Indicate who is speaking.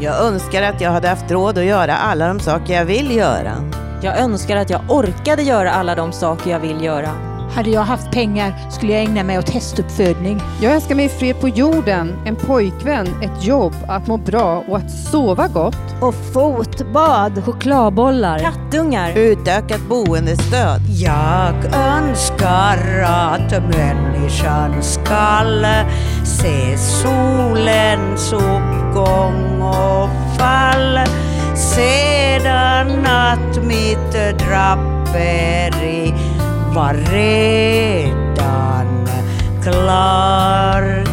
Speaker 1: Jag önskar att jag hade haft råd att göra alla de saker jag vill göra.
Speaker 2: Jag önskar att jag orkade göra alla de saker jag vill göra.
Speaker 3: Hade jag haft pengar skulle jag ägna mig åt hästuppfödning.
Speaker 4: Jag önskar mig fred på jorden, en pojkvän, ett jobb, att må bra och att sova gott.
Speaker 5: Och fotbad.
Speaker 6: Chokladbollar.
Speaker 2: Kattungar.
Speaker 1: Utökat boendestöd.
Speaker 7: Jag önskar att människan skall se solens uppgång och fall sedan att mitt draperi var redan klar.